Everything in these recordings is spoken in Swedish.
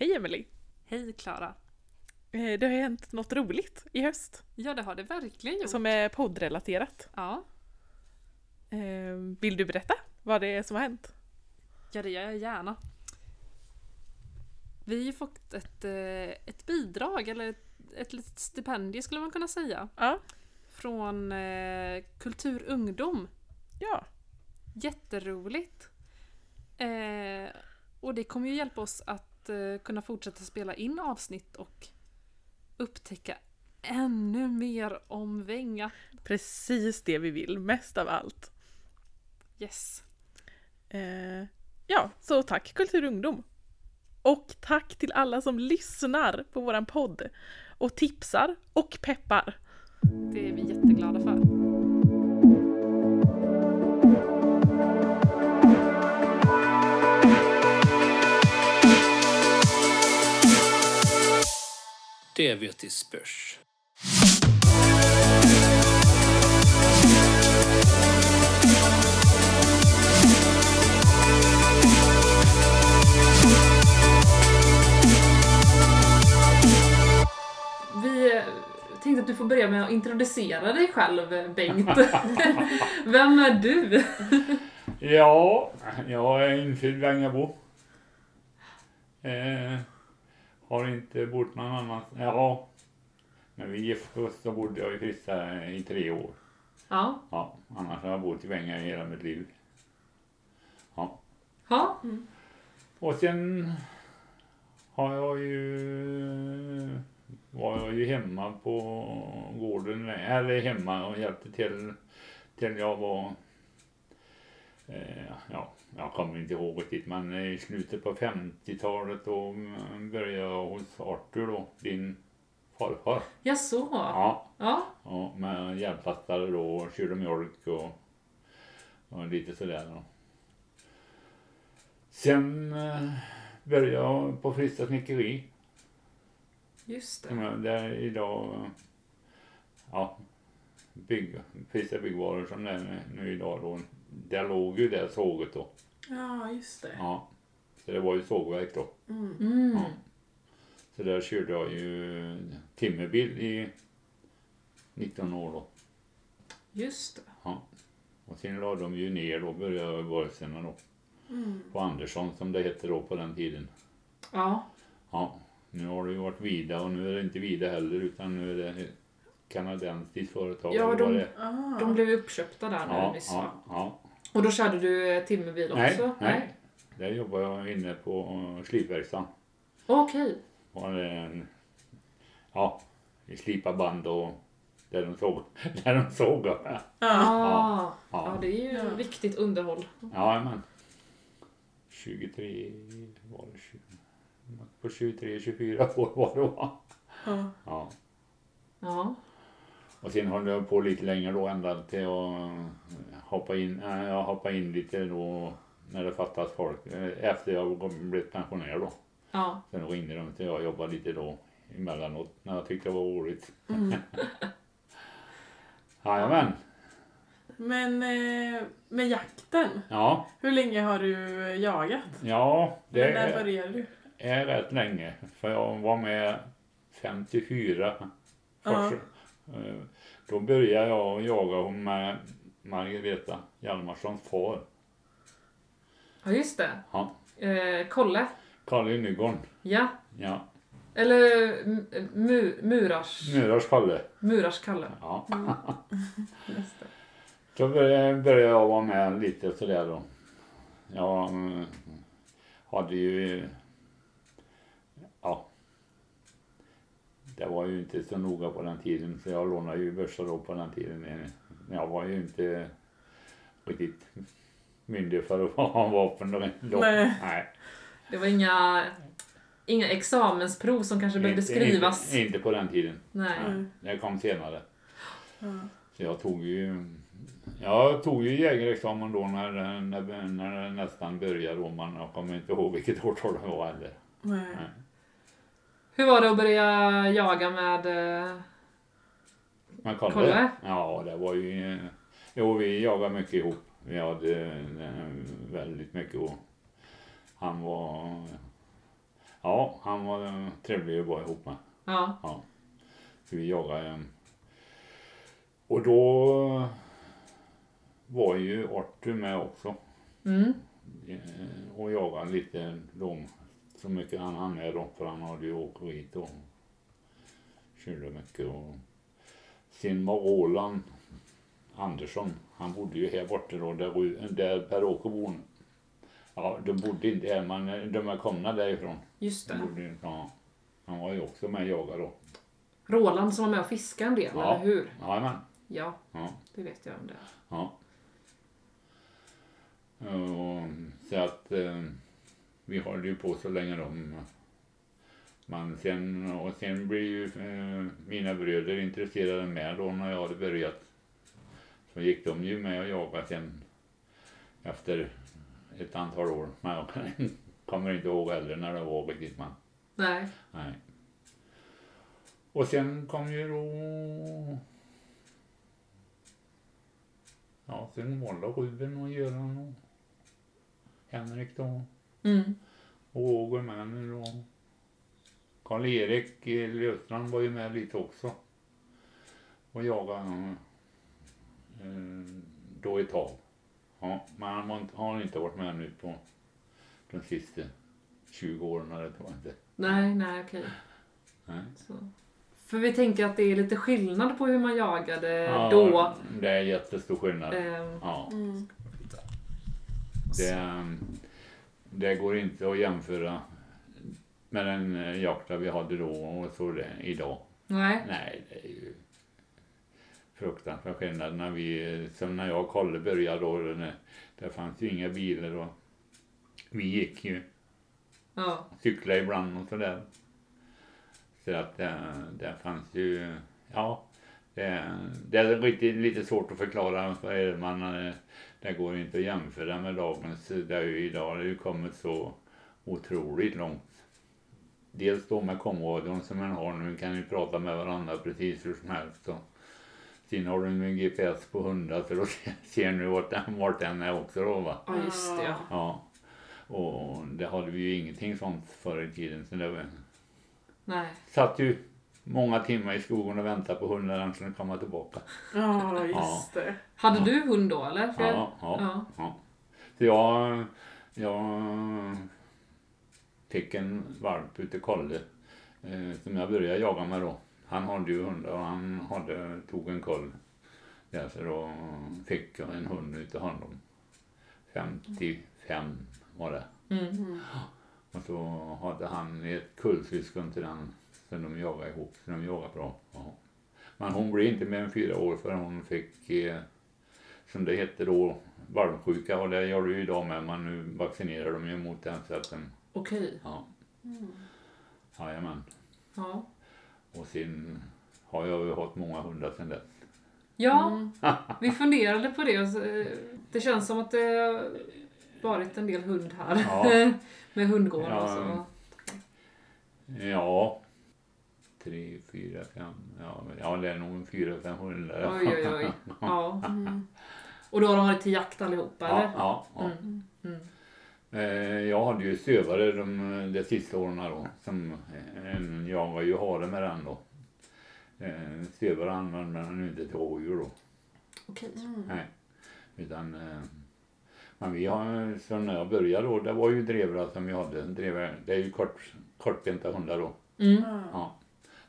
Hej Emily. Hej Klara! Eh, Det har hänt något roligt i höst Ja, det har det verkligen gjort. som är poddrelaterat. Ja. Eh, Vill du berätta vad det är som har hänt? ja, det gör jag gärna. Vi har ju fått ett, eh, ett bidrag, eller ett, ett litet stipendium skulle man kunna säga, Ja. från eh, Kultur Ungdom. Ja. Jätteroligt! Eh, och det kommer ju hjälpa oss att eh, kunna fortsätta spela in avsnitt och upptäcka ännu mer om Vänga. Precis det vi vill, mest av allt. Yes! Eh, Ja, så tack Kultur Ungdom. Och tack till alla som lyssnar på våran podd och tipsar och peppar. Det är vi jätteglada för. Det vet i spörs. Vi eh, tänkte att du får börja med att introducera dig själv, Bengt. Vem är du? Ja, jag är infödd vängabo. Eh, har inte bott någon annanstans. Ja, när vi gifte oss så bodde jag i Frissa i tre år. Ja. Ja, annars har jag bott i Vänga i hela mitt liv. Ja. Ja. Mm. Och sen har jag ju var jag ju hemma på gården, eller hemma och hjälpte till till jag var eh, ja, jag kommer inte ihåg riktigt men i slutet på 50-talet då började jag hos Arthur då, din farfar. Ja, så. Ja. Ja, Ja. ja med hjälplastare då och kylde mjölk och, och lite sådär då. Sen eh, började jag på Frista snickeri Just det. som jag- där idag ja, bygg, Frista byggvaror som det är nu idag då. Där låg ju det såget då. Ja, just det. Ja. Så det var ju sågverk då. Mm. Så där körde jag ju timmerbil i 19 år då. Just det. Och sen la de ju ner då, började varelserna då. Mm. På Andersson som det hette då på den tiden. Ja. Ja, nu har det ju varit Vida och nu är det inte Vida heller utan nu är det ett kanadensiskt företag. Ja, eller de- vad det är. De blev uppköpta där nu ja, nyss va? ja, ja. Och då körde du eh, timmerbil också? Nej, nej, Där jobbar jag inne på eh, slipverkstan. Okej. Och det är en- Ja, vi slipar band och där de såg. Där de såg. Ja, Ja. ja. Ah. Ja, det är ju Ja. viktigt underhåll. Jajamän. 23 var det 20, på 23, 24 år var det va? Ja. Ja. Ja. Och sen höll jag på lite längre då ända till jag hoppade in, äh, jag hoppade in lite då när det fattas folk eh, efter jag kom- blev pensionerad då. Ja. Sen ringde de till jag jobbade lite då emellanåt när jag tyckte det var roligt. Jajamän, Men eh, med jakten, ja, hur länge har du jagat? ja det är, började du? är rätt länge för jag var med 54 Ja. först. Eh, Då började jag jaga med Margareta Hjalmarssons far, Ja, just det. Ja. Eh, Kolle. Kalle i Nygården. Ja. Ja, Eller m- mu, murars, Murars Kalle. murars Kalle. Ja. Just det. Då började började jag vara med lite sådär då. Jag mm, hade ju... Ja. Det var ju inte så noga på den tiden så jag lånade ju börsa då på den tiden. Men Jag var ju inte riktigt myndig för att ha vapen då. då. Nej. Nej. Det var inga, inga examensprov som kanske behövde Inte- skrivas. Inte, inte på den tiden. Nej. Nej, Det kom senare. Så jag tog ju, jag tog ju jägarexamen då när, när, när det nästan började då, men jag kommer inte ihåg vilket årtal det var heller. Nej. Hur var det att börja jaga med... eh, Men kolla. Kolla. Ja, det var ju, jo vi jagade mycket ihop. Vi hade eh, väldigt mycket och han var, ja Ja, han var eh, trevlig att vara ihop med. Ja. Ja. För vi jagade. eh, Och då var ju Arthur med också. Mm. eh, Och jagade lite lång. Så mycket han hann med då. För han hade ju åkt skit och körde mycket. Och sen var Roland Andersson. Han bodde ju här borta då. Där, Ru- där Per-Åke bor nu. Ja, de bodde inte här men eh, de är komna därifrån. Just Han det. bodde ju- Ja. Han var ju också med och jagade då. Roland som var med och fiskade en del, Ja. eller hur? Jajamän. Ja, Ja. det vet jag om det. Ja. Och, så att eh, vi höll ju på så länge de... Men sen, och sen blev ju eh, mina bröder intresserade med då när jag hade börjat. Så gick de ju med och jagade sen efter ett antal år. Men jag kommer inte ihåg heller när det var riktigt. Men, Nej. nej. Och sen kom ju då Ja, sen var det Ruben och Göran och Henrik då. Mm. Och Roger med nu då. Karl-Erik eh, Löfstrand var ju med lite också. Och jagade eh, eh, då ett tag. Ja, men han har inte- har inte varit med nu på de sista 20 åren eller tror jag inte. Nej, nej, okej. Nej. Så. För vi tänker att det är lite skillnad på hur man jagade Ja, då. Det är jättestor skillnad. Eh, Ehm, Ja, Mm. det, det går inte att jämföra med den eh, jakta vi hade då och så det, idag. nej. Nej, det är ju fruktansvärd skillnad. När vi, som när jag och Kalle började då, det, det fanns ju inga bilar och vi gick ju, Ja. cyklade ibland och sådär. Så att det, det fanns ju, ja, det, det är riktigt, lite svårt att förklara för er, men eh, det går inte att jämföra med dagens, det är ju idag, det har ju kommit så otroligt långt. Dels då med komradion som man har nu, kan ju prata med varandra precis hur som helst. Och sen har du med GPS på hundar så då ser du vart den, vart den är också då va. Ja, just det. Ja. Ja. Och det hade vi ju ingenting sånt förr i tiden. Så det var... Nej. satt ju många timmar i skogen och väntade på hunden när han skulle komma tillbaka. Ja, just det. Hade du hund då eller? För jag- Ja, ja, ja. ja. Så jag, jag fick en valp ute i Kolle eh, som jag började jaga med då. Han hade ju hundar och han hade, tog en koll. Där, så då fick jag en hund ute honom. 55 var det. Mm. Och så hade han ett kullsyskon till den som de jagade ihop, så de jagade bra. Ja. Men hon blev inte mer än fyra år förrän hon fick, eh, som det hette då, valmsjuka och det gör du ju idag med, men nu vaccinerar de ju mot den så att den, Okej. ja. Mm. Jajamän. Ja. Och sen har jag ju haft många hundar sedan dess. Ja, Mm. vi funderade på det. och så, eh, Det känns som att det har varit en del hund här. Ja. Med alltså. hundgården Ja. och så. Ja, tre, fyra, fem, ja, ja det är nog en fyra, fem hundar. Oj, oj, oj. Ja. Mm. Och då har de varit till jakt allihopa Ja, eller? ja, ja. Mm. Mm. Eh, Jag hade ju stövare de, de sista åren då. Som, eh, jag var ju hare med den då. Eh, Stövare använde man ju inte till rådjur då. Okej. Utan, eh, men vi har, så när jag började då, det var ju drevrar som vi hade. Drevrar, det är ju kort, kortbenta hundar då. Mm. Ja.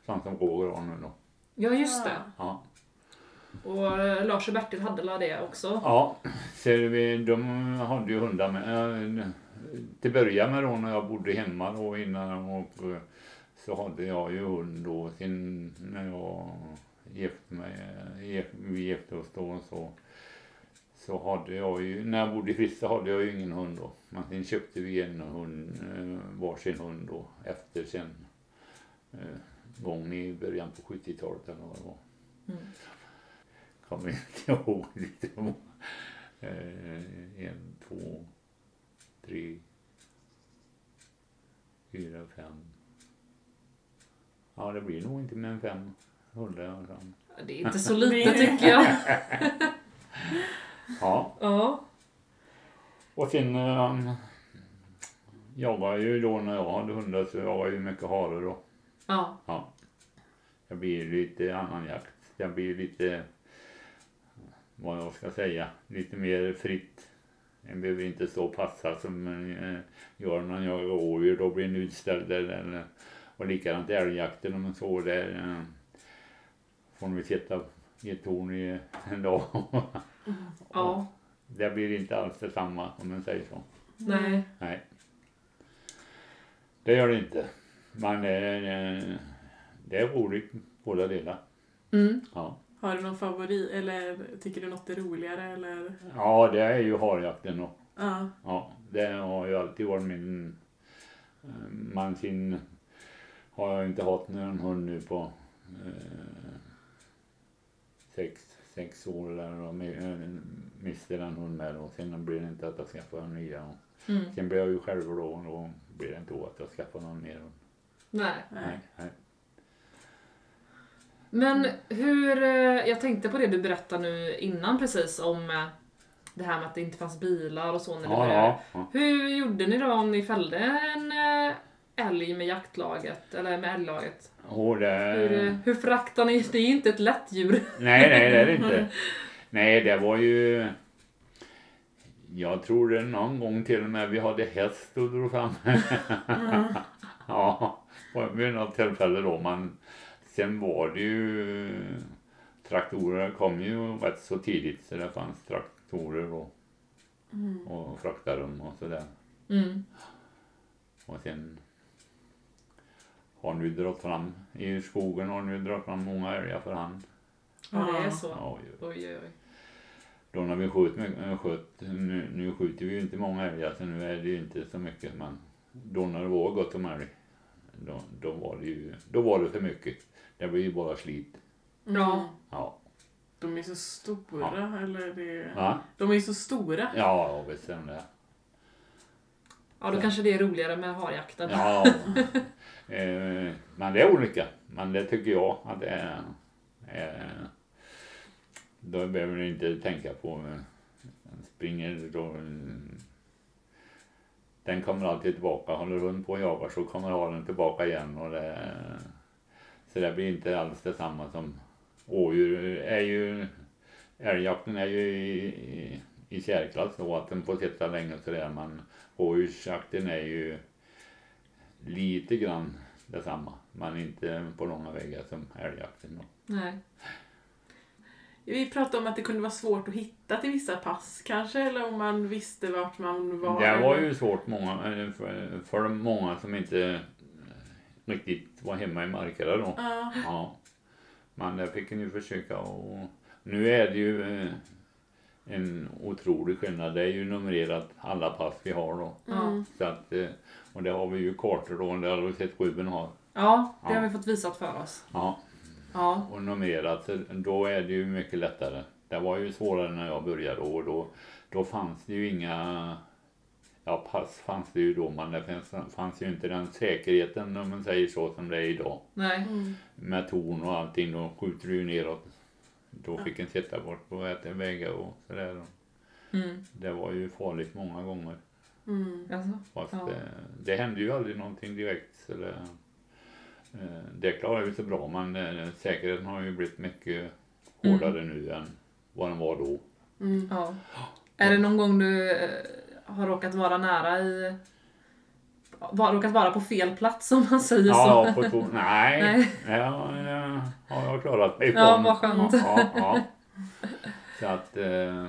Sånt som Roger har nu då. Ja, just det. Ja, Och eh, Lars och Bertil hade la det också. ja så vi, de hade ju hundar med. eh, Till början med då när jag bodde hemma då innan och eh, så hade jag ju hund då sen när jag gifte mig, eh, gif- vi gifte oss då och så. Så hade jag ju, när jag bodde i Frista hade jag ju ingen hund då. Men sen köpte vi en hund, eh, varsin hund då efter sen eh, gång i början på 70-talet eller vad det var. Mm. Kommer inte ihåg lite hur många. Eh, en, två, tre, fyra, fem. Ja, det blir nog inte mer än fem hundar. i alla fall. Det är inte så lite tycker jag. Ja, Ja. och sen... ehm, jagade ju då när eh, jag hade hundar så jagade jag ju mycket hare då. Ja. Ja. Jag blir lite annan jakt. Jag blir lite, vad jag ska säga, lite mer fritt. En behöver inte stå och passa som man eh, gör när jag jagar rådjur. Då blir en utställd. Eller, eller, och likadant i älgjakten om man står där. Eh, får vi sitta i ett torn i en dag. Ja. det blir inte alls detsamma om man säger så. Mm. Nej. Nej. Det gör det inte. Men eh, det är roligt båda delar. Mm. Ja. Har du någon favorit eller tycker du något är roligare eller? ja, det är ju harjakten då. Ja. Ja, det har ju alltid varit min... eh, Men sin har jag inte haft någon hund nu på eh, sex, sex år eller och mi- eh, miste den hund med och sen blir det inte att jag skaffar en nya. Och Mm. sen blir jag ju själv då och då blir det inte att jag skaffar någon mer. hund. Nej. Nej, nej. Men hur, eh, jag tänkte på det du berättade nu innan precis om eh, det här med att det inte fanns bilar och så när ni Ja, började. ja, ja. Hur gjorde ni då om ni fällde en eh, älg med jaktlaget, eller med älglaget? Och det... Hur, eh, hur fraktar ni? Det är ju inte ett lätt djur. Nej, nej, det är det inte. Nej, det var ju... Jag tror det någon gång till och med vi hade häst och drog fram. ja, var vid något tillfälle då. Men sen var det ju... Traktorer kom ju rätt så tidigt så det fanns traktorer då. Och fraktarrum och sådär. Mm. Och sen har nu dragit fram, i skogen har nu dragit fram många älgar för hand. Ja, det är Ja. så. Ja, ju. Oj, oj, oj. Då när vi sköt, med- eh, sköt nu, nu skjuter vi ju inte många älgar så nu är det ju inte så mycket men då när det var gott om älg då, då var det ju, då var det för mycket. Det blir ju bara slit. Mm. Ja. Ja, De är så stora, eller det... ja, De är så stora. ja jag visst är de det. Ja, då kanske det är roligare med harjakten. Ja, eh, men det är olika. Men det tycker jag att det är. Eh, då behöver du inte tänka på eh, den springer då. eh, Den kommer alltid tillbaka. Håller hon på och jagar så kommer haren tillbaka igen. Och det, så det blir inte alls detsamma som ådjur. Är ju, älgjakten är ju i, i, i särklass då att den får sitta länge och sådär. Men ådjursjakten är ju lite grann detsamma. Men inte på långa vägar som älgjakten. Då. Nej. Vi pratade om att det kunde vara svårt att hitta till vissa pass kanske, eller om man visste vart man var. Det var eller- ju svårt många, eller för, för många som inte eh, riktigt var hemma i Markaryd då. Ja, Ja. Men där fick ni försöka och Nu är det ju eh, en otrolig skillnad. Det är ju numrerat alla pass vi har då. mm. Så att, eh, och det har vi ju kartor då. Det har vi sett Ruben har. Ja, det har Ja. vi fått visat för oss. Ja. Ja. och numrerat, så då är det ju mycket lättare. Det var ju svårare när jag började och då, då fanns det ju inga... Ja, pass fanns det ju då, men det fanns, fanns ju inte den säkerheten om man säger så som det är idag. Nej. Mm. Med torn och allting, då skjuter du ju neråt. Då fick en sitta bort på äta vägar och sådär. Mm. Det var ju farligt många gånger. Mm. Alltså. Fast Ja. det, eh, det hände ju aldrig någonting direkt. Så det, eh, det klarar vi så bra men eh, säkerheten har ju blivit mycket Mm. hårdare nu än vad den var då. Mm. Ja. Är det någon gång du eh, har råkat vara nära i... Var, råkat vara på fel plats om man säger så? Ja, på to- nej, Nej. Ja, ja, har jag klarat mig Ja, ifrån. vad skönt. Ja, ja, ja. Så att eh,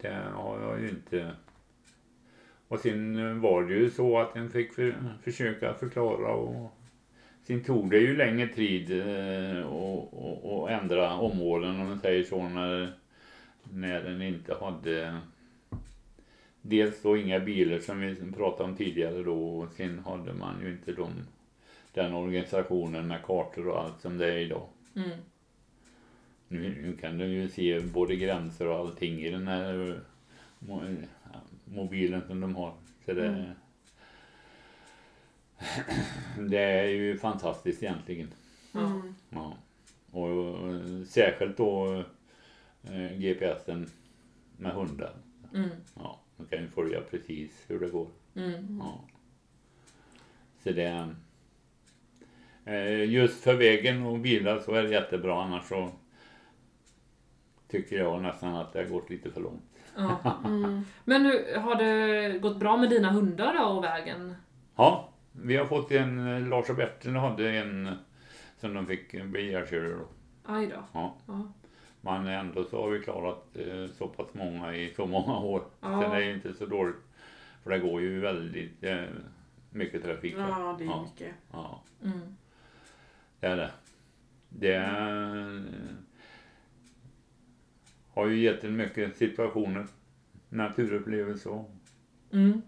det har jag ju inte. Och sen var det ju så att en fick för, försöka förklara och sen tog det ju längre tid eh, och, och, och ändra områden om man säger så när, när den inte hade Dels då inga bilar som vi pratade om tidigare då och sen hade man ju inte de, den organisationen med kartor och allt som det är idag. Mm. Nu, nu kan du ju se både gränser och allting i den här eh, mo- mobilen som de har. Så det, det är ju fantastiskt egentligen. Mm. Ja. Och, och särskilt då eh, GPSen med hundar. Mm. Ja, man kan ju följa precis hur det går. Mm. Ja. Så det... eh, Just för vägen och bilar så är det jättebra annars så tycker jag nästan att det har gått lite för långt. Ja. Mm. Men hur, har det gått bra med dina hundar då och vägen? Ja, vi har fått en, eh, Lars och Bertil hade en eh, som de fick bli ihjälkörda då. Aj då. Ja. Ja. Men ändå så har vi klarat eh, så pass många i så många år. Ja. Sen är det ju inte så dåligt. För det går ju väldigt eh, mycket trafik. här. Ja, det är ja, mycket. ja. Mm. Det är det. Det är, har ju gett en mycket situationer, naturupplevelser. och- Mm.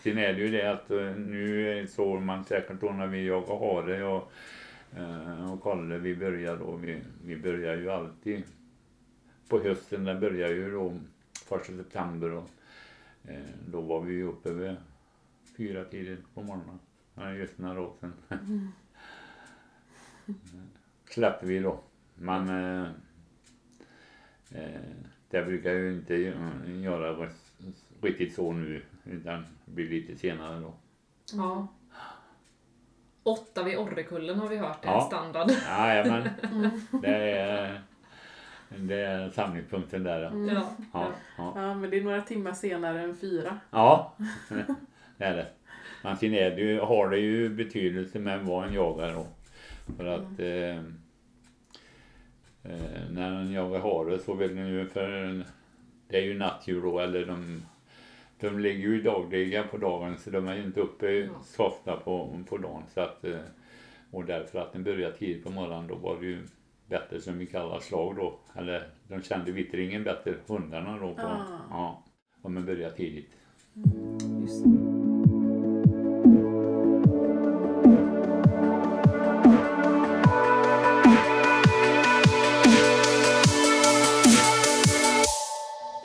Sen är det ju det att eh, nu är det så man säkert då när vi jagar hare och, eh, och Kalle, vi börjar då, vi, vi börjar ju alltid på hösten, den börjar ju då första september och eh, då var vi ju uppe vid fyra tidigt på morgonen. Ja, just den här råten. Släpper vi då. Men eh, eh, det brukar jag ju inte gö- göra riktigt så nu utan blir lite senare då. Ja. Åtta vid Orrekullen har vi hört, det är Ja. standard. Nej, men det är, det är samlingspunkten där. Ja. Ja. Ja, ja. Ja, men det är några timmar senare än fyra. ja, det är det. Men sen är det ju, har det ju betydelse med vad en jagar då. För att eh, eh, när en jagar hare så vill den ju för det är ju nattdjur då eller de de ligger ju dagliga på dagen så de är ju inte uppe så ofta på, på dagen. Så att, eh, och därför att den börjar tidigt på morgonen då var det ju bättre som vi kallar slag då. Eller de kände vittringen bättre, hundarna då. På, Ah. ja, om man börjar tidigt.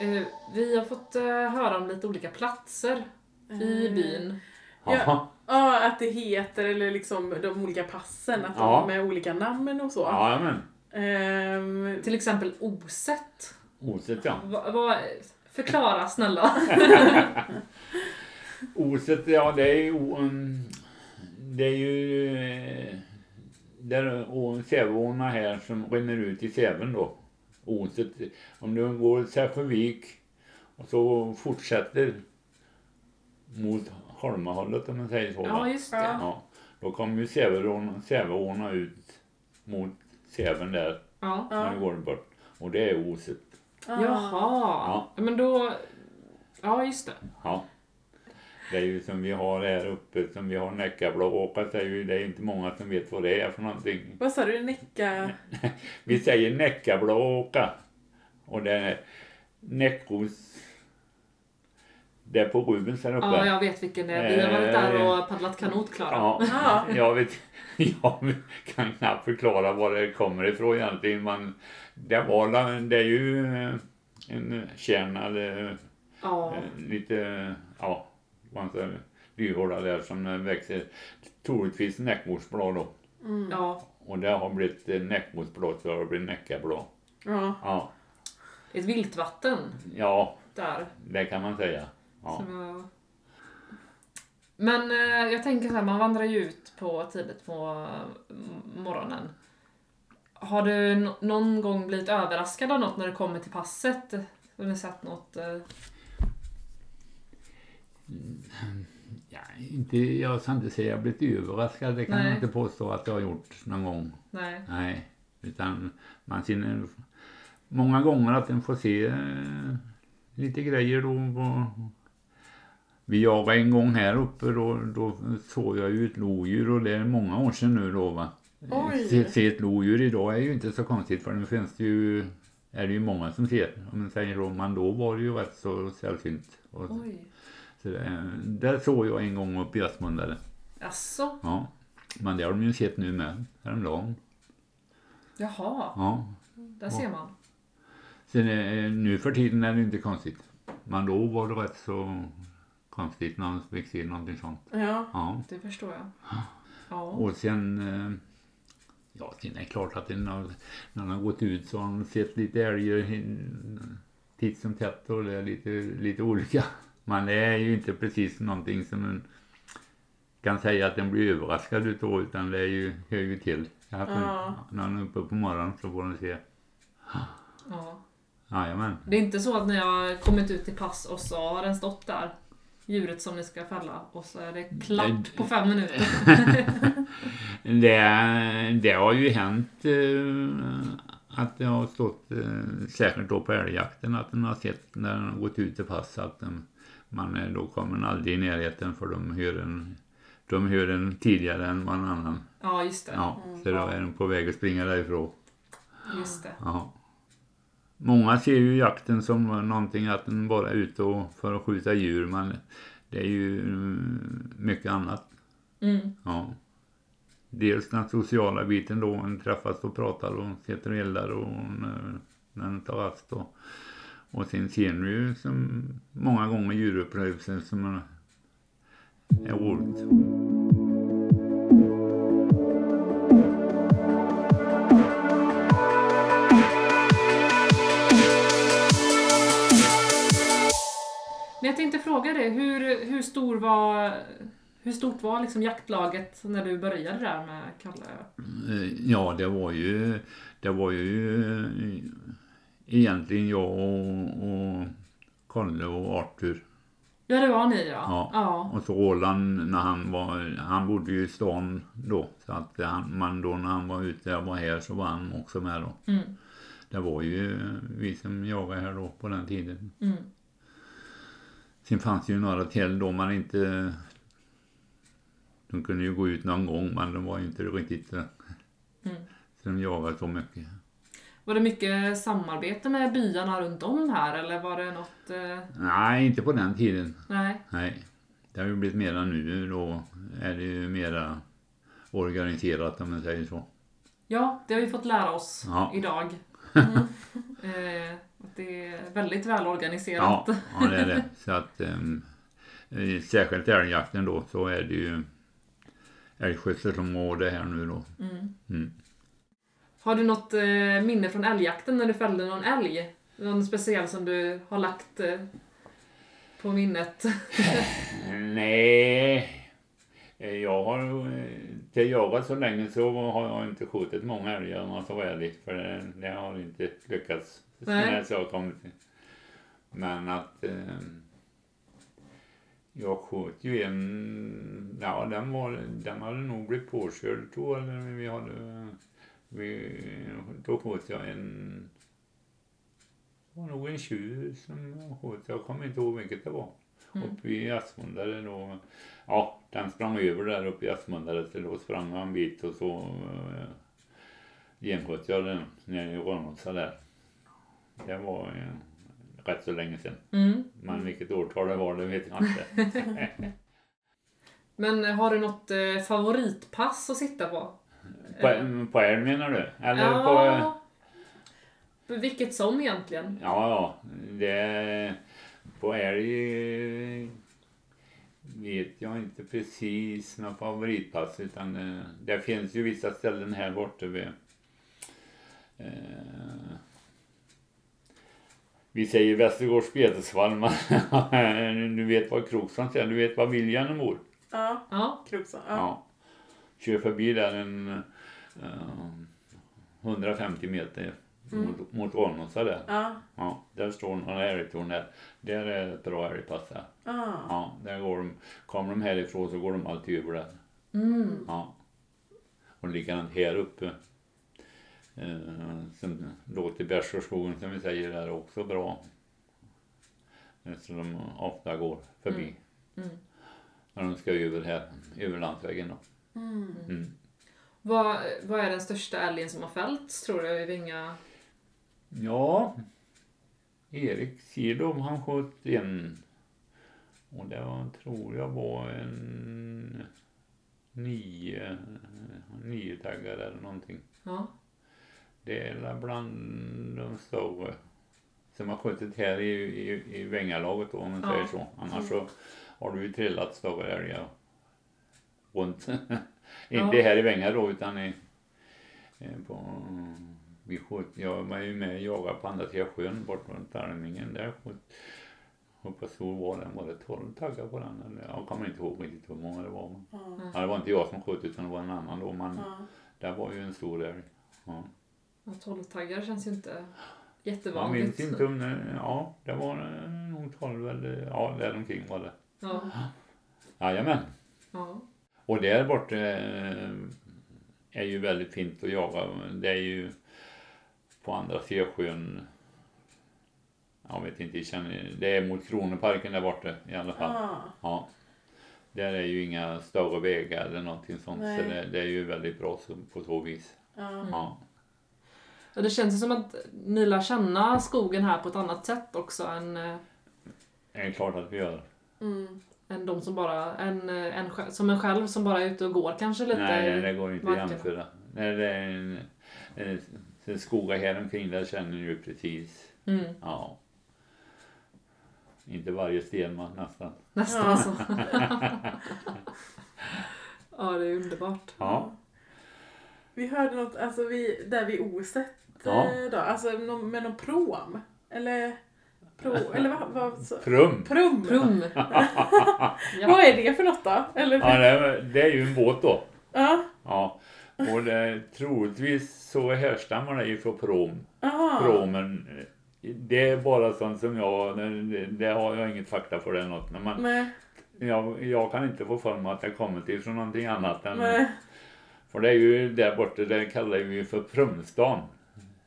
Eh, Vi har fått eh, höra om lite olika platser i Eh, byn. Ja, Ja, att det heter, eller liksom de olika passen, att Ja. de är olika namn och så. ja men Ehm, Till exempel Oset. oset ja. Va, va, förklara snälla. Oset, ja det är ju... o- mm, Det är ju... eh, Där å- Säveåarna här som rinner ut i Säven då. Oset, om du går Säfevik och så fortsätter mot Holmahållet om man säger så. va? Ja, just det. ja. Då kommer ju Säveån- Säveåarna ut mot Säven där, Ja. när du går bort. Och det är Oset. Ah. Jaha. Men då... Ja, just det. Ja. Det är ju som vi har här uppe, som vi har Näckablååkar, säger vi, det är ju inte många som vet vad det är för någonting. vad sa du? Näcka? Vi säger Näckablååka. Och det är Näckos. Det är på Rubens här uppe. Ja, jag vet vilken det är. Vi har varit där och paddlat kanot, Klara. Ja, jag, vet, jag kan knappt förklara var det kommer ifrån egentligen. Men det, var, la- det är ju eh, en kärna eller Ja. Eh, lite, ja, man säger, dyhåla där som eh, växer. Troligtvis näckmorsblad då. ja. Och det har blivit eh, näckmorsblad så det har blivit näckablad. Ja. Ja, Det är ett viltvatten ja, där. det kan man säga. Ja, Som jag... Men eh, jag tänker så här, man vandrar ju ut på tidigt på eh, m- morgonen. Har du no- någon gång blivit överraskad av något när det kommer till passet? Har ni sett något? eh? ja inte, jag ska inte säga jag blivit överraskad. Det kan Nej. jag inte påstå att jag har gjort någon gång. Nej. Nej, utan man ser många gånger att en får se eh, lite grejer då. på- Vi jagade en gång här uppe då, då såg jag ju ett lodjur och det är många år sedan nu då va. Oj. Se, se ett lodjur idag är ju inte så konstigt för nu finns det ju, är det ju många som ser. Om man säger då, men då var det ju rätt så sällsynt. Och, Oj. så det, där såg jag en gång uppe i Östmundare. Jaså? Ja. Men det har de ju sett nu med häromdagen. Jaha. Ja. Där ser man. Sen, eh, nu för tiden är det inte konstigt. Men då var det rätt så konstigt när man fick se någonting sånt. Ja. Ja. Det förstår jag. Ja. Och sen... eh, Ja, sen är det klart att den har, när den har gått ut så har den sett lite älgar hin- titt som tätt och det är lite, lite olika. Men det är ju inte precis någonting som en kan säga att den blir överraskad utav utan det är ju, hör ju till. Jag har haft en- Ja. När han är uppe på morgonen så får han se. Ja. Jajamän. Det är inte så att ni har kommit ut till pass och så har den stått där, djuret som ni ska fälla, och så är det Nej. klapp på fem minuter. Det, det har ju hänt eh, att det har stått, eh, särskilt då på älgjakten, att man har sett när den har gått ut till pass att den, man eh, då kommer den aldrig i närheten för de hör en, de hör en tidigare än vad en annan. Ja, just det. Ja, så då är den på väg att springa därifrån. Just det. Ja. Många ser ju jakten som någonting att den bara är ute och för att skjuta djur men det är ju mm, mycket annat. Mm. Ja. Dels den sociala biten då, en träffas och pratar och sitter och eldar och när, när den tar rast. Och, och sen ser ni ju som många gånger djurupplevelser som är- är roligt. Men jag tänkte fråga dig, hur, hur, stor var, hur stort var liksom jaktlaget när du började där med Kalle? Eh, Ja, det var ju, det var ju eh, egentligen jag och, och Kalle och Arthur. Ja, det var ni Ja. ja. ja. Och så Roland när han var, han bodde ju i stan då. Så att han, man då när han var ute och var här så var han också med då. Mm. Det var ju vi som jagade här då på den tiden. Mm. Sen fanns det ju några till då man inte... De kunde ju gå ut någon gång men de var ju inte riktigt... eh, Mm. Så de jagade så mycket. Var det mycket samarbete med byarna runt om här eller var det något... Eh, Nej, inte på den tiden. nej. Nej. Det har ju blivit mera nu då. Är det ju mera organiserat om man säger så. Ja, det har vi fått lära oss Ja. idag. eh, att det är väldigt välorganiserat. Ja, ja det är det. Så att, um, särskilt älgjakten då så är det ju älgskötselområde här nu då. Mm. Mm. Har du något eh, minne från älgjakten när du fällde någon älg? Någon speciell som du har lagt eh, på minnet? Nej, jag har eh, inte jagat så länge så har jag inte skjutit många älgar om jag ska vara ärlig. För det, det har inte lyckats. sen Nej. dess jag har kommit. till. Men att eh, jag sköt ju en, ja den var, den hade nog blivit påkörd då eller vi hade, vi, då sköt jag en, det var nog en tjur som jag sköt, jag kommer inte ihåg vilket det var. Mm. Uppe i Aspmundare då. Ja, den sprang över där uppe i Aspmundare så då sprang jag en bit och så eh, gensköt jag den nere i Rönnåsa där. Det var eh, rätt så länge sedan. Mm. Men vilket årtal det var det vet jag inte. Men har du något eh, favoritpass att sitta på? på, på älg menar du? Eller på... eh, Ja. Vilket som egentligen. Ja, ja. Det, på älg eh, vet jag inte precis någon favoritpass utan eh, det finns ju vissa ställen här borta vid eh, vi säger Västergårds betesvall, men du vet var Kroksson är, du vet var Viljan bor. Ja, Ja. Kroksson. Ja. Ja. Kör förbi där en eh, 150 meter mot, mot Alnåsa där. Ja. Ja, där står några älgtorn där. Där är ett bra älgpass där. Ah. Ja, där går de, kommer de härifrån så går de alltid över där. Mm. Ja. Och likadant här uppe. Eh, som låter Bärsgårdsskogen som vi säger där också bra. Eh, Så de ofta går förbi. Mm. Mm. När de ska över här, över landsvägen då. Mm. Mm. Vad, vad är den största älgen som har fällts tror du i Vinga? Ja, Erik Silov han sköt en. Och det var, tror jag var en nio, nio taggar eller någonting. Ja. Det är väl bland de större som har skjutit här i, i, i Vängalaget då, om man Ja. Mm. säger så. Annars så har du ju trillat större älgar runt. Inte Ja. här i Vänga då utan i, eh, på, vi sköt, jag var ju med och jagade på andra sidan sjön bort runt Armingen. Där sköt, sköt Hoppas stor var den? Var det 12 taggar på den? Eller? Jag kommer inte ihåg riktigt hur många det Mm. var. Men... Ja. Ja, det var inte jag som sköt utan det var en annan då. Men Ja. där var ju en stor älg. Ja. Ja, 12-taggar känns ju inte Jag minns jättevanligt. inte om det... Ja, det var eh, nog 12 eller... Ja, däromkring var det. Ja, Jajamän. ja. Och där borta eh, är ju väldigt fint att jaga. Det är ju på andra sidan sjön. Jag vet inte, jag känner, det är mot Kronoparken där borta i Ah. alla fall. Ja. Ja. Där är ju inga större vägar eller någonting sånt. Nej. Mm. Så det, det är ju väldigt bra så, på så vis. Ja. Ja. ja det känns ju som att ni lär känna skogen här på ett annat sätt också än, eh, Det är klart att vi gör. Mm. än de som bara, en, eh, en, sj- som en själv som bara är ute och går kanske lite. Nej, nej, det går inte att markerna. jämföra. Nej, det är en, en, en skogar här omkring där känner ni ju precis. Mm, Ja. Inte varje sten men nästan. nästan Ja. så. ja, det är underbart. Ja. Vi hörde något, alltså vi, där vid Oset Ja. eh, då, alltså nå- med någon prom. Eller, pro, eller vad, vad så, Prum! prom. Prum! Vad ja. är det för något då? Eller, Ja, ja. det, är- det är ju en båt då. Ja. Ja. Och det, troligtvis så härstammar det ifrån prom. Aha. Promen. eh, Det är bara sånt som jag, det, det har jag inget fakta för det eller något. Men man, Nej, jag, jag kan inte få för mig att det kommit ifrån någonting annat än... nej. För det är ju där borta, det kallar vi ju för Prumstan.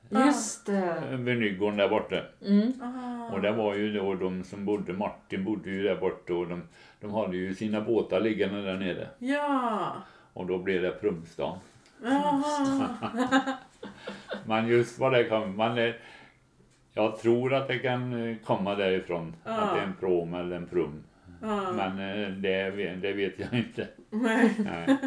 Just det. Vid Nygården där borta. Mm. Aha. Och det var ju då de som bodde, Martin bodde ju där borta och de, de hade ju sina båtar liggande där nere. Ja. Och då blev det Prumstan. Aha. Men just vad det kan, man är, jag tror att det kan eh, komma därifrån. Ja. Att det är en prom eller en prum. Ja. Men eh, det, ve- det vet jag inte. Nej. Nej.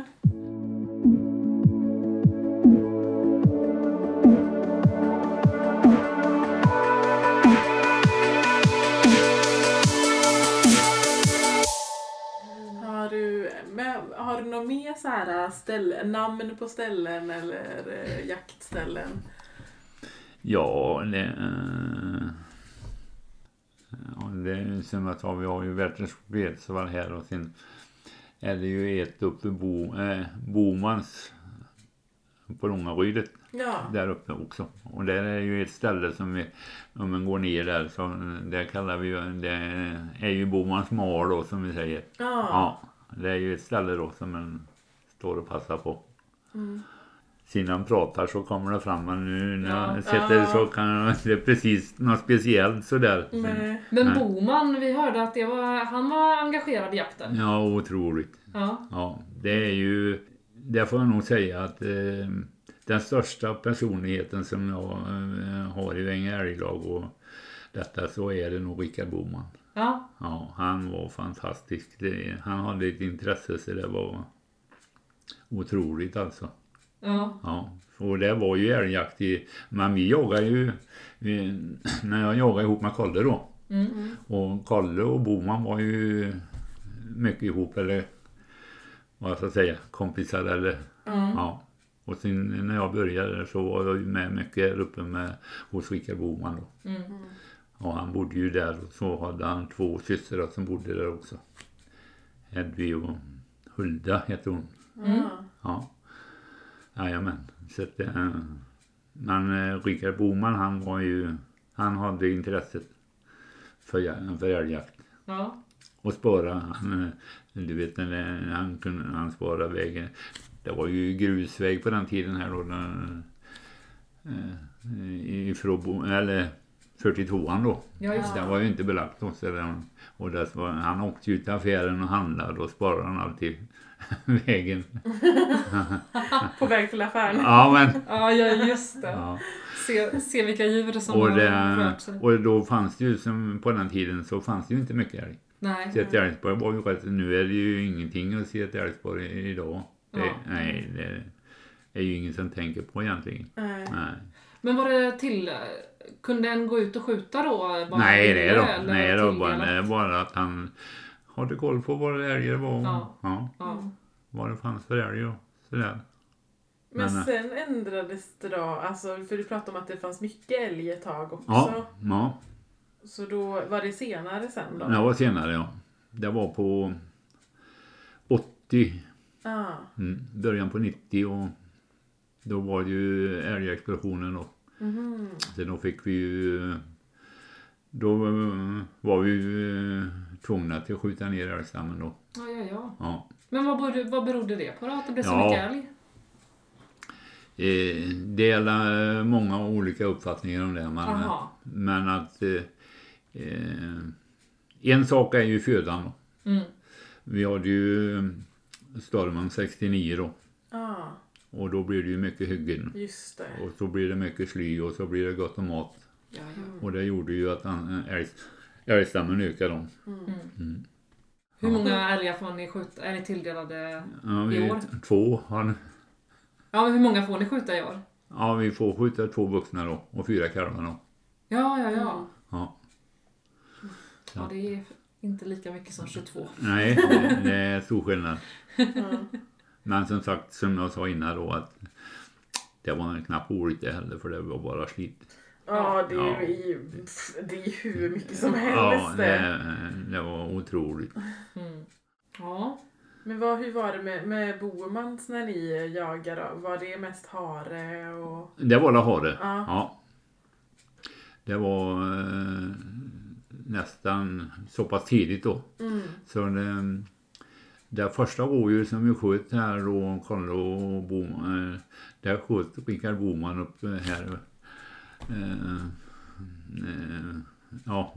Har du, men har du något mer så här äh, ställ, namn på ställen eller eh, jaktställen? Ja, det... eh, ja, det är som jag sa, vi har ju Werthers Vedsvall här och sen är det ju ett uppe vid Bo, eh, Bomans på Långarydet Ja. där uppe också. Och där är ju ett ställe som vi, om man går ner där, så eh, där kallar vi ju- det är ju Bomans mal då som vi säger. Ja. Ja, det är ju ett ställe då som man står och passar på. Mm. Sen han pratar så kommer det fram, men nu när Ja. jag sitter Ja. så kan jag inte precis något speciellt sådär. Nej. Men Nej. Boman, vi hörde att det var, han var engagerad i jakten. Ja, otroligt. Ja. Ja, det är ju, det får jag nog säga att eh, den största personligheten som jag eh, har i Vänga älglag och detta så är det nog Rickard Boman. Ja. Ja, han var fantastisk. Det, han hade ett intresse så det var otroligt alltså. Ja. Ja, och det var ju älgjakt i... Men vi jagar ju... Vi, när jag jagade ihop med Kalle då. Mm. Och Kalle och Boman var ju mycket ihop eller vad jag ska säga, kompisar eller... Mm. Ja. Och sen när jag började så var jag ju med mycket här uppe med, hos Rickard Boman då. Mm. Och han bodde ju där och så hade han två systrar som bodde där också. Hedvig och Hulda heter hon. Ja. Ja. Jajamän. Så att, eh, men eh, Rickard Boman han var ju, han hade intresset för, ja- för älgjakt. Ja. Och spara, han, eh, du vet när det- han kunde, han spara vägen. Det var ju grusväg på den tiden här då. när- eh, ifrån, Bo- eller 42an då. Ja, just Det var ju inte belagt då. Så det, och där var, han åkte ju till affären och handlade och sparade han alltid vägen. På väg till affären. Ja men. Ja, ja just det. Ja. Se, se vilka djur som Och, har det, rört sig. och då fanns det ju som på den tiden så fanns det ju inte mycket älg. Nej. Så att Älvsborg var ju rätt, nu är det ju ingenting att se ett Älvsborg i- idag. Det, Ja. Nej, det är ju ingen som tänker på egentligen. Nej. Nej, Men var det till... Kunde en gå ut och skjuta då? Bara nej det är ville, då, eller nej, det var bara, tilldelat? det är bara att han hade koll på vad det älgar var och Ja. ja. Ja. vad det fanns för älg och sådär. Men Men, eh, sen ändrades det då, alltså, för du pratade om att det fanns mycket älg ett tag också. Ja, ja. Så då var det senare sen då? Det var senare ja. Det var på 80, Ah, mm, början på 90 och då var det ju älgexplosionen då. mhm. Sen då fick vi ju... Då eh, var vi ju eh, tvungna till att skjuta ner älgstammen då. Ja, ja, ja. Ja. Men vad berodde, vad berodde det på då? Att det blev så Ja. mycket älg? Eh, det är eh, många olika uppfattningar om det. Men, Jaha. men att... Eh, eh, en sak är ju födan. Då. Mm. Vi hade ju eh, stormen 69 då. ah, Och då blir det ju mycket hyggen. just det. Och så blir det mycket sly och så blir det gott om mat. Ja, Mm. ja. Och det gjorde ju att an- älg- älgstammen ökade. Då. Hur Ja. många älgar får ni skjuta? Är ni tilldelade? Ja, I vi, år? två. Han, Ja, men hur många får ni skjuta i år? ja, vi får skjuta två vuxna då och fyra kalvar då. Ja, ja, ja. Ja. Ja, det är inte lika mycket som 22. Nej, det, det är stor skillnad. Ja. Men som sagt, som jag sa innan då att det var knappt roligt det heller för det var bara slit. Ja, det är ju Ja. i- pff, det är ju hur mycket som Ja, helst. det. det, eh, det var otroligt. Mm. Ja. Men vad, hur var det med, med Bomans när ni jagade? då? Var det mest hare och... Det var la hare. Ja. Ja. Det var eh, nästan så pass tidigt då. Mm. Så det, det första rådjur som vi sköt här då, Kalle och Boman, eh, där sköt Rickard Boman upp eh, här. Eh, eh, ja,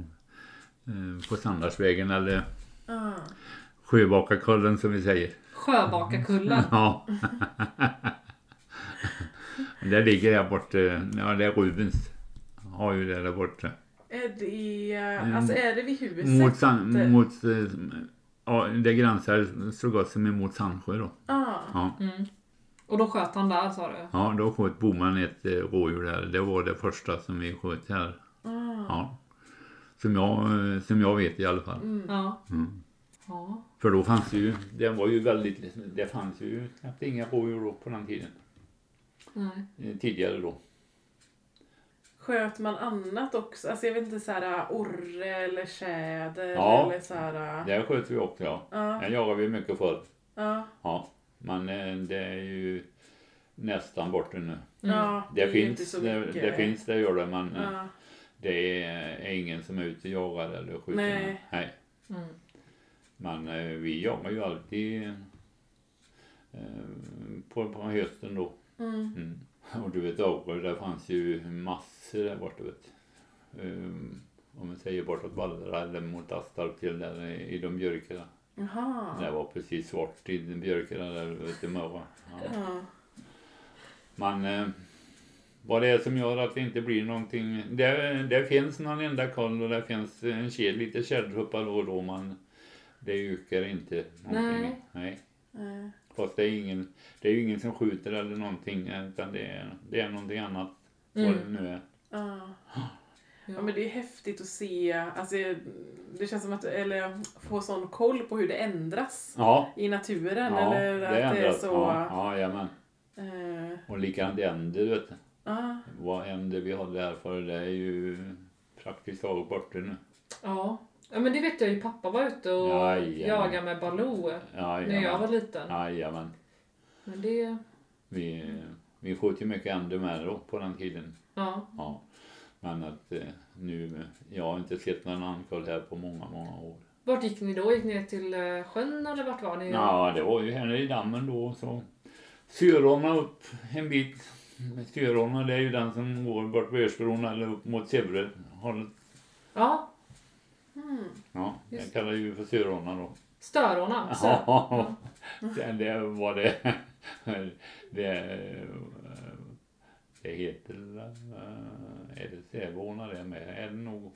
eh, på Sandarsvägen eller Ah. Sjöbakakullen som vi säger. Sjöbakakullen. Ja. det ligger där borta, ja det är Rubens. Har ju det där borta. Är det, alltså är det vid huset? Mm. Mot, san, mot eh, ja, det gränsar så gott som emot Sandsjö då. Ah. Ja. Mm. Och då sköt han där sa du? Ja, då sköt Boman ett eh, rådjur där. Det var det första som vi sköt här. Ah. Ja. Som, jag, eh, som jag vet i alla fall. Mm. Ja. Mm. ja. För då fanns det ju, det var ju väldigt, det fanns ju knappt inga rådjur då på den tiden. Nej. Eh, Tidigare då. Sköt man annat också? Alltså jag vet inte, så här orre eller tjäder Ja. eller så här... ah. Där sköt vi också ja. Ja, Där jagade vi mycket förr. ja, Ja. Men eh, det är ju nästan borta nu. Mm. ja. Det, är ju finns, det, det finns, det gör det, men eh, Ja. det är är ingen som är ute och jagar eller skjuter. Nej. Nej. Mm. Men eh, vi jagar ju alltid eh, på, på hösten då. Mm. Mm. Och du vet Auger, där fanns ju massor där borta vet um, Om vi säger bortåt Vallra eller mot Astarp till där i de björkarna. Jaha. Det var precis svart i de björkarna där ute i Möva. Ja. Ja. Men eh, vad det är som gör att det inte blir någonting. Det, det finns någon enda koll och det finns en tjej, lite tjäderhuppar då och då men det ökar inte någonting. Nej. Nej. Eh, Fast det är, ingen, det är ju ingen som skjuter eller någonting utan det är, det är någonting annat. Vad Mm. det nu är. Ja. Ja, Ja. men det är häftigt att se, alltså, det känns som att, eller få sån koll på hur det ändras Ja, i naturen. ja eller det att det är ändras. så... Ja, ja, jajamän. eh, ah, Och likadant änder vet du. ja. Vad änder vi hade här för det är ju praktiskt taget borta nu. ja. Ja men det vet jag ju, pappa var ute och Jajamän. jagade med Baloo när jag var Jajamän. liten. Jajamän. Men det... Vi, vi sköt ju mycket änder med då på den tiden. Ja. Ja. Men att eh, nu, jag har inte sett någon ankoll här på många, många år. Vart gick ni då? Gick ni ner till eh, sjön eller vart var ni? Ja, det var ju här i dammen då så Sörholma upp en bit. Sörholma det är ju den som går bort vid Örsbron eller upp mot Sävre. hållet. Ja. Mm. Ja, Just jag kallar ju för Sörholma då. Störorna. Så. Ja, det var det. Det, eh, det heter väl, eh, är det Sävåna det med? Är det nog?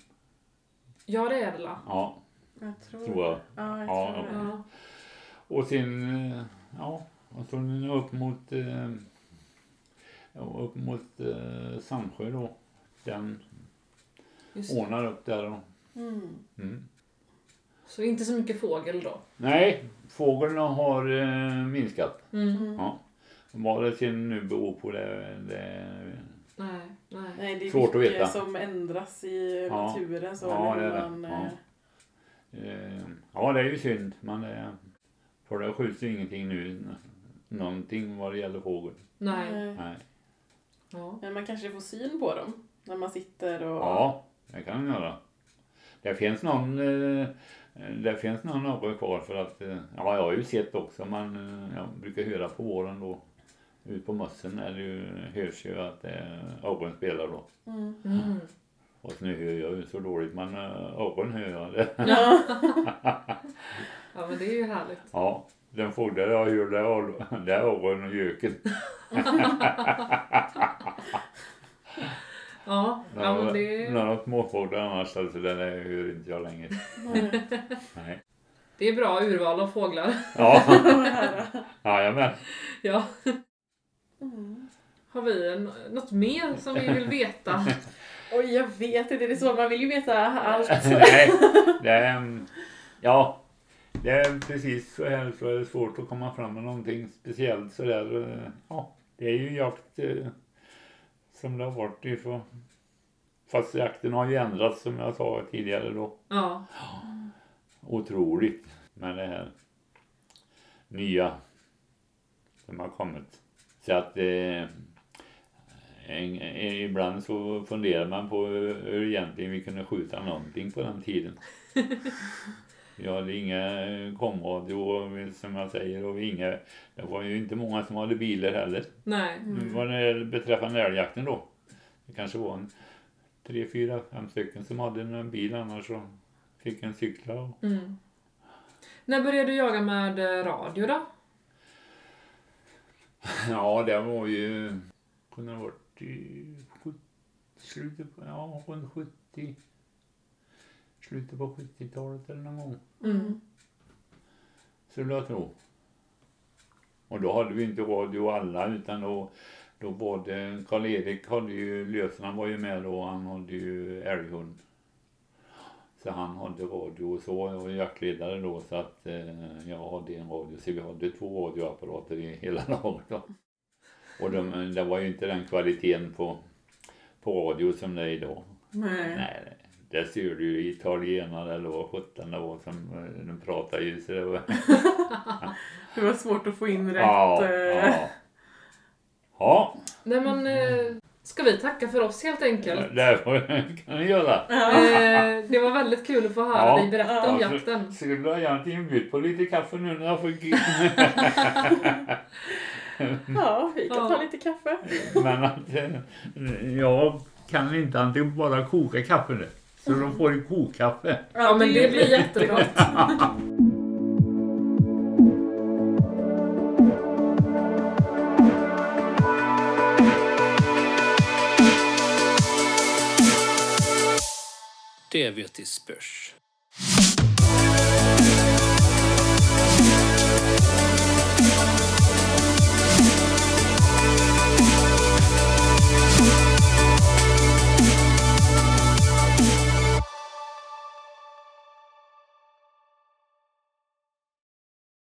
Ja det är det la. Ja, Jag tror, tror jag. Ja, jag Ja, tror det. Ja. Och sen, eh, ja, och så upp mot, eh, ja, upp mot eh, Sandsjö då. Den Just. det. ordnar upp där då. Mm. Mm. Så inte så mycket fågel då. Nej, fåglarna har eh, minskat. Mm. Ja. Vad det sen nu beror på det, det Nej, nej. Nej, det är Svårt att mycket veta. som ändras i Ja. naturen. Så Ja, eller det är hur det. man, Ja. eh, Eh, ja, det är ju synd. Men det, för det skjuts ju ingenting nu. Någonting vad det gäller fågel. nej. eh, Nej. Ja. Men man kanske får syn på dem när man sitter och... Ja, det kan den göra. Det finns någon eh, det finns någon apa kvar för att eh, ja, jag har ju sett också men eh, jag brukar höra på våren då ut på mössen är det ju, hörs ju att eh, apan spelar då. Mm. Mm. Och nu hör jag ju så dåligt men eh, apan hör jag det. Ja, men det är ju härligt. Ja, den fågel jag hör det är, det är apan och göken. Ja, ja men det, Några småfåglar annars alltså den där hör inte jag längre. Nej. Nej. det är bra urval av fåglar. Ja, Vad här då? jajamän. Ja. Mm. Har vi en, något mer som vi vill veta? Oj, jag vet inte. Det är så. Man vill ju veta allt. Nej, det är, mm, ja, det är precis så här så är det svårt att komma fram med någonting speciellt så där. eh, Ja, det är ju jakt eh, som det har varit ifrån. Fast jakten har ju ändrats som jag sa tidigare då. Ja. Otroligt med det här nya som har kommit. Så att eh, en, en, ibland så funderar man på hur, hur egentligen vi kunde skjuta någonting på den tiden. Vi hade inga eh, komradio och vi- som jag säger och inga, det var ju inte många som hade bilar heller. Nej. Mm. Vad det gäller- beträffande älgjakten då. Det kanske var en tre, fyra, fem stycken som hade en bil annars så fick en cykla och Mm. När började du jaga med eh, radio då? Ja, det var ju... Kunde det ha varit i sjut- slutet på... Ja, runt 70... Slutet på 70-talet eller någon gång. Mm. Skulle jag tro. Och då hade vi inte radio alla utan då, då var det... Karl-Erik hade ju... Lösen han var ju med då. Han hade ju älghund. Så han hade radio och så. Jag var jaktledare då så att eh, jag hade en radio. Så vi hade två radioapparater i hela laget då. Och de, det var ju inte den kvaliteten på, på radio som det är idag. Nej. Nej, där ser du ju italienare eller vad sjutton det var som eh, de pratade ju. Så det var, Det var svårt att få in rätt. ja, eh, ja. ja, Nej men, Mm. eh, ska vi tacka för oss helt enkelt? det får- kan vi göra. Eh, det var väldigt kul att få höra Ja. dig berätta om Ja, så- jakten. Skulle du ha egentligen bjudit på lite kaffe nu när jag fick... Ja, vi kan Ja. ta lite kaffe. Men att eh, jag kan inte antingen bara koka kaffe nu. Så de får ju kokkaffe. Ja men det blir jättebra. Det vet i spörs.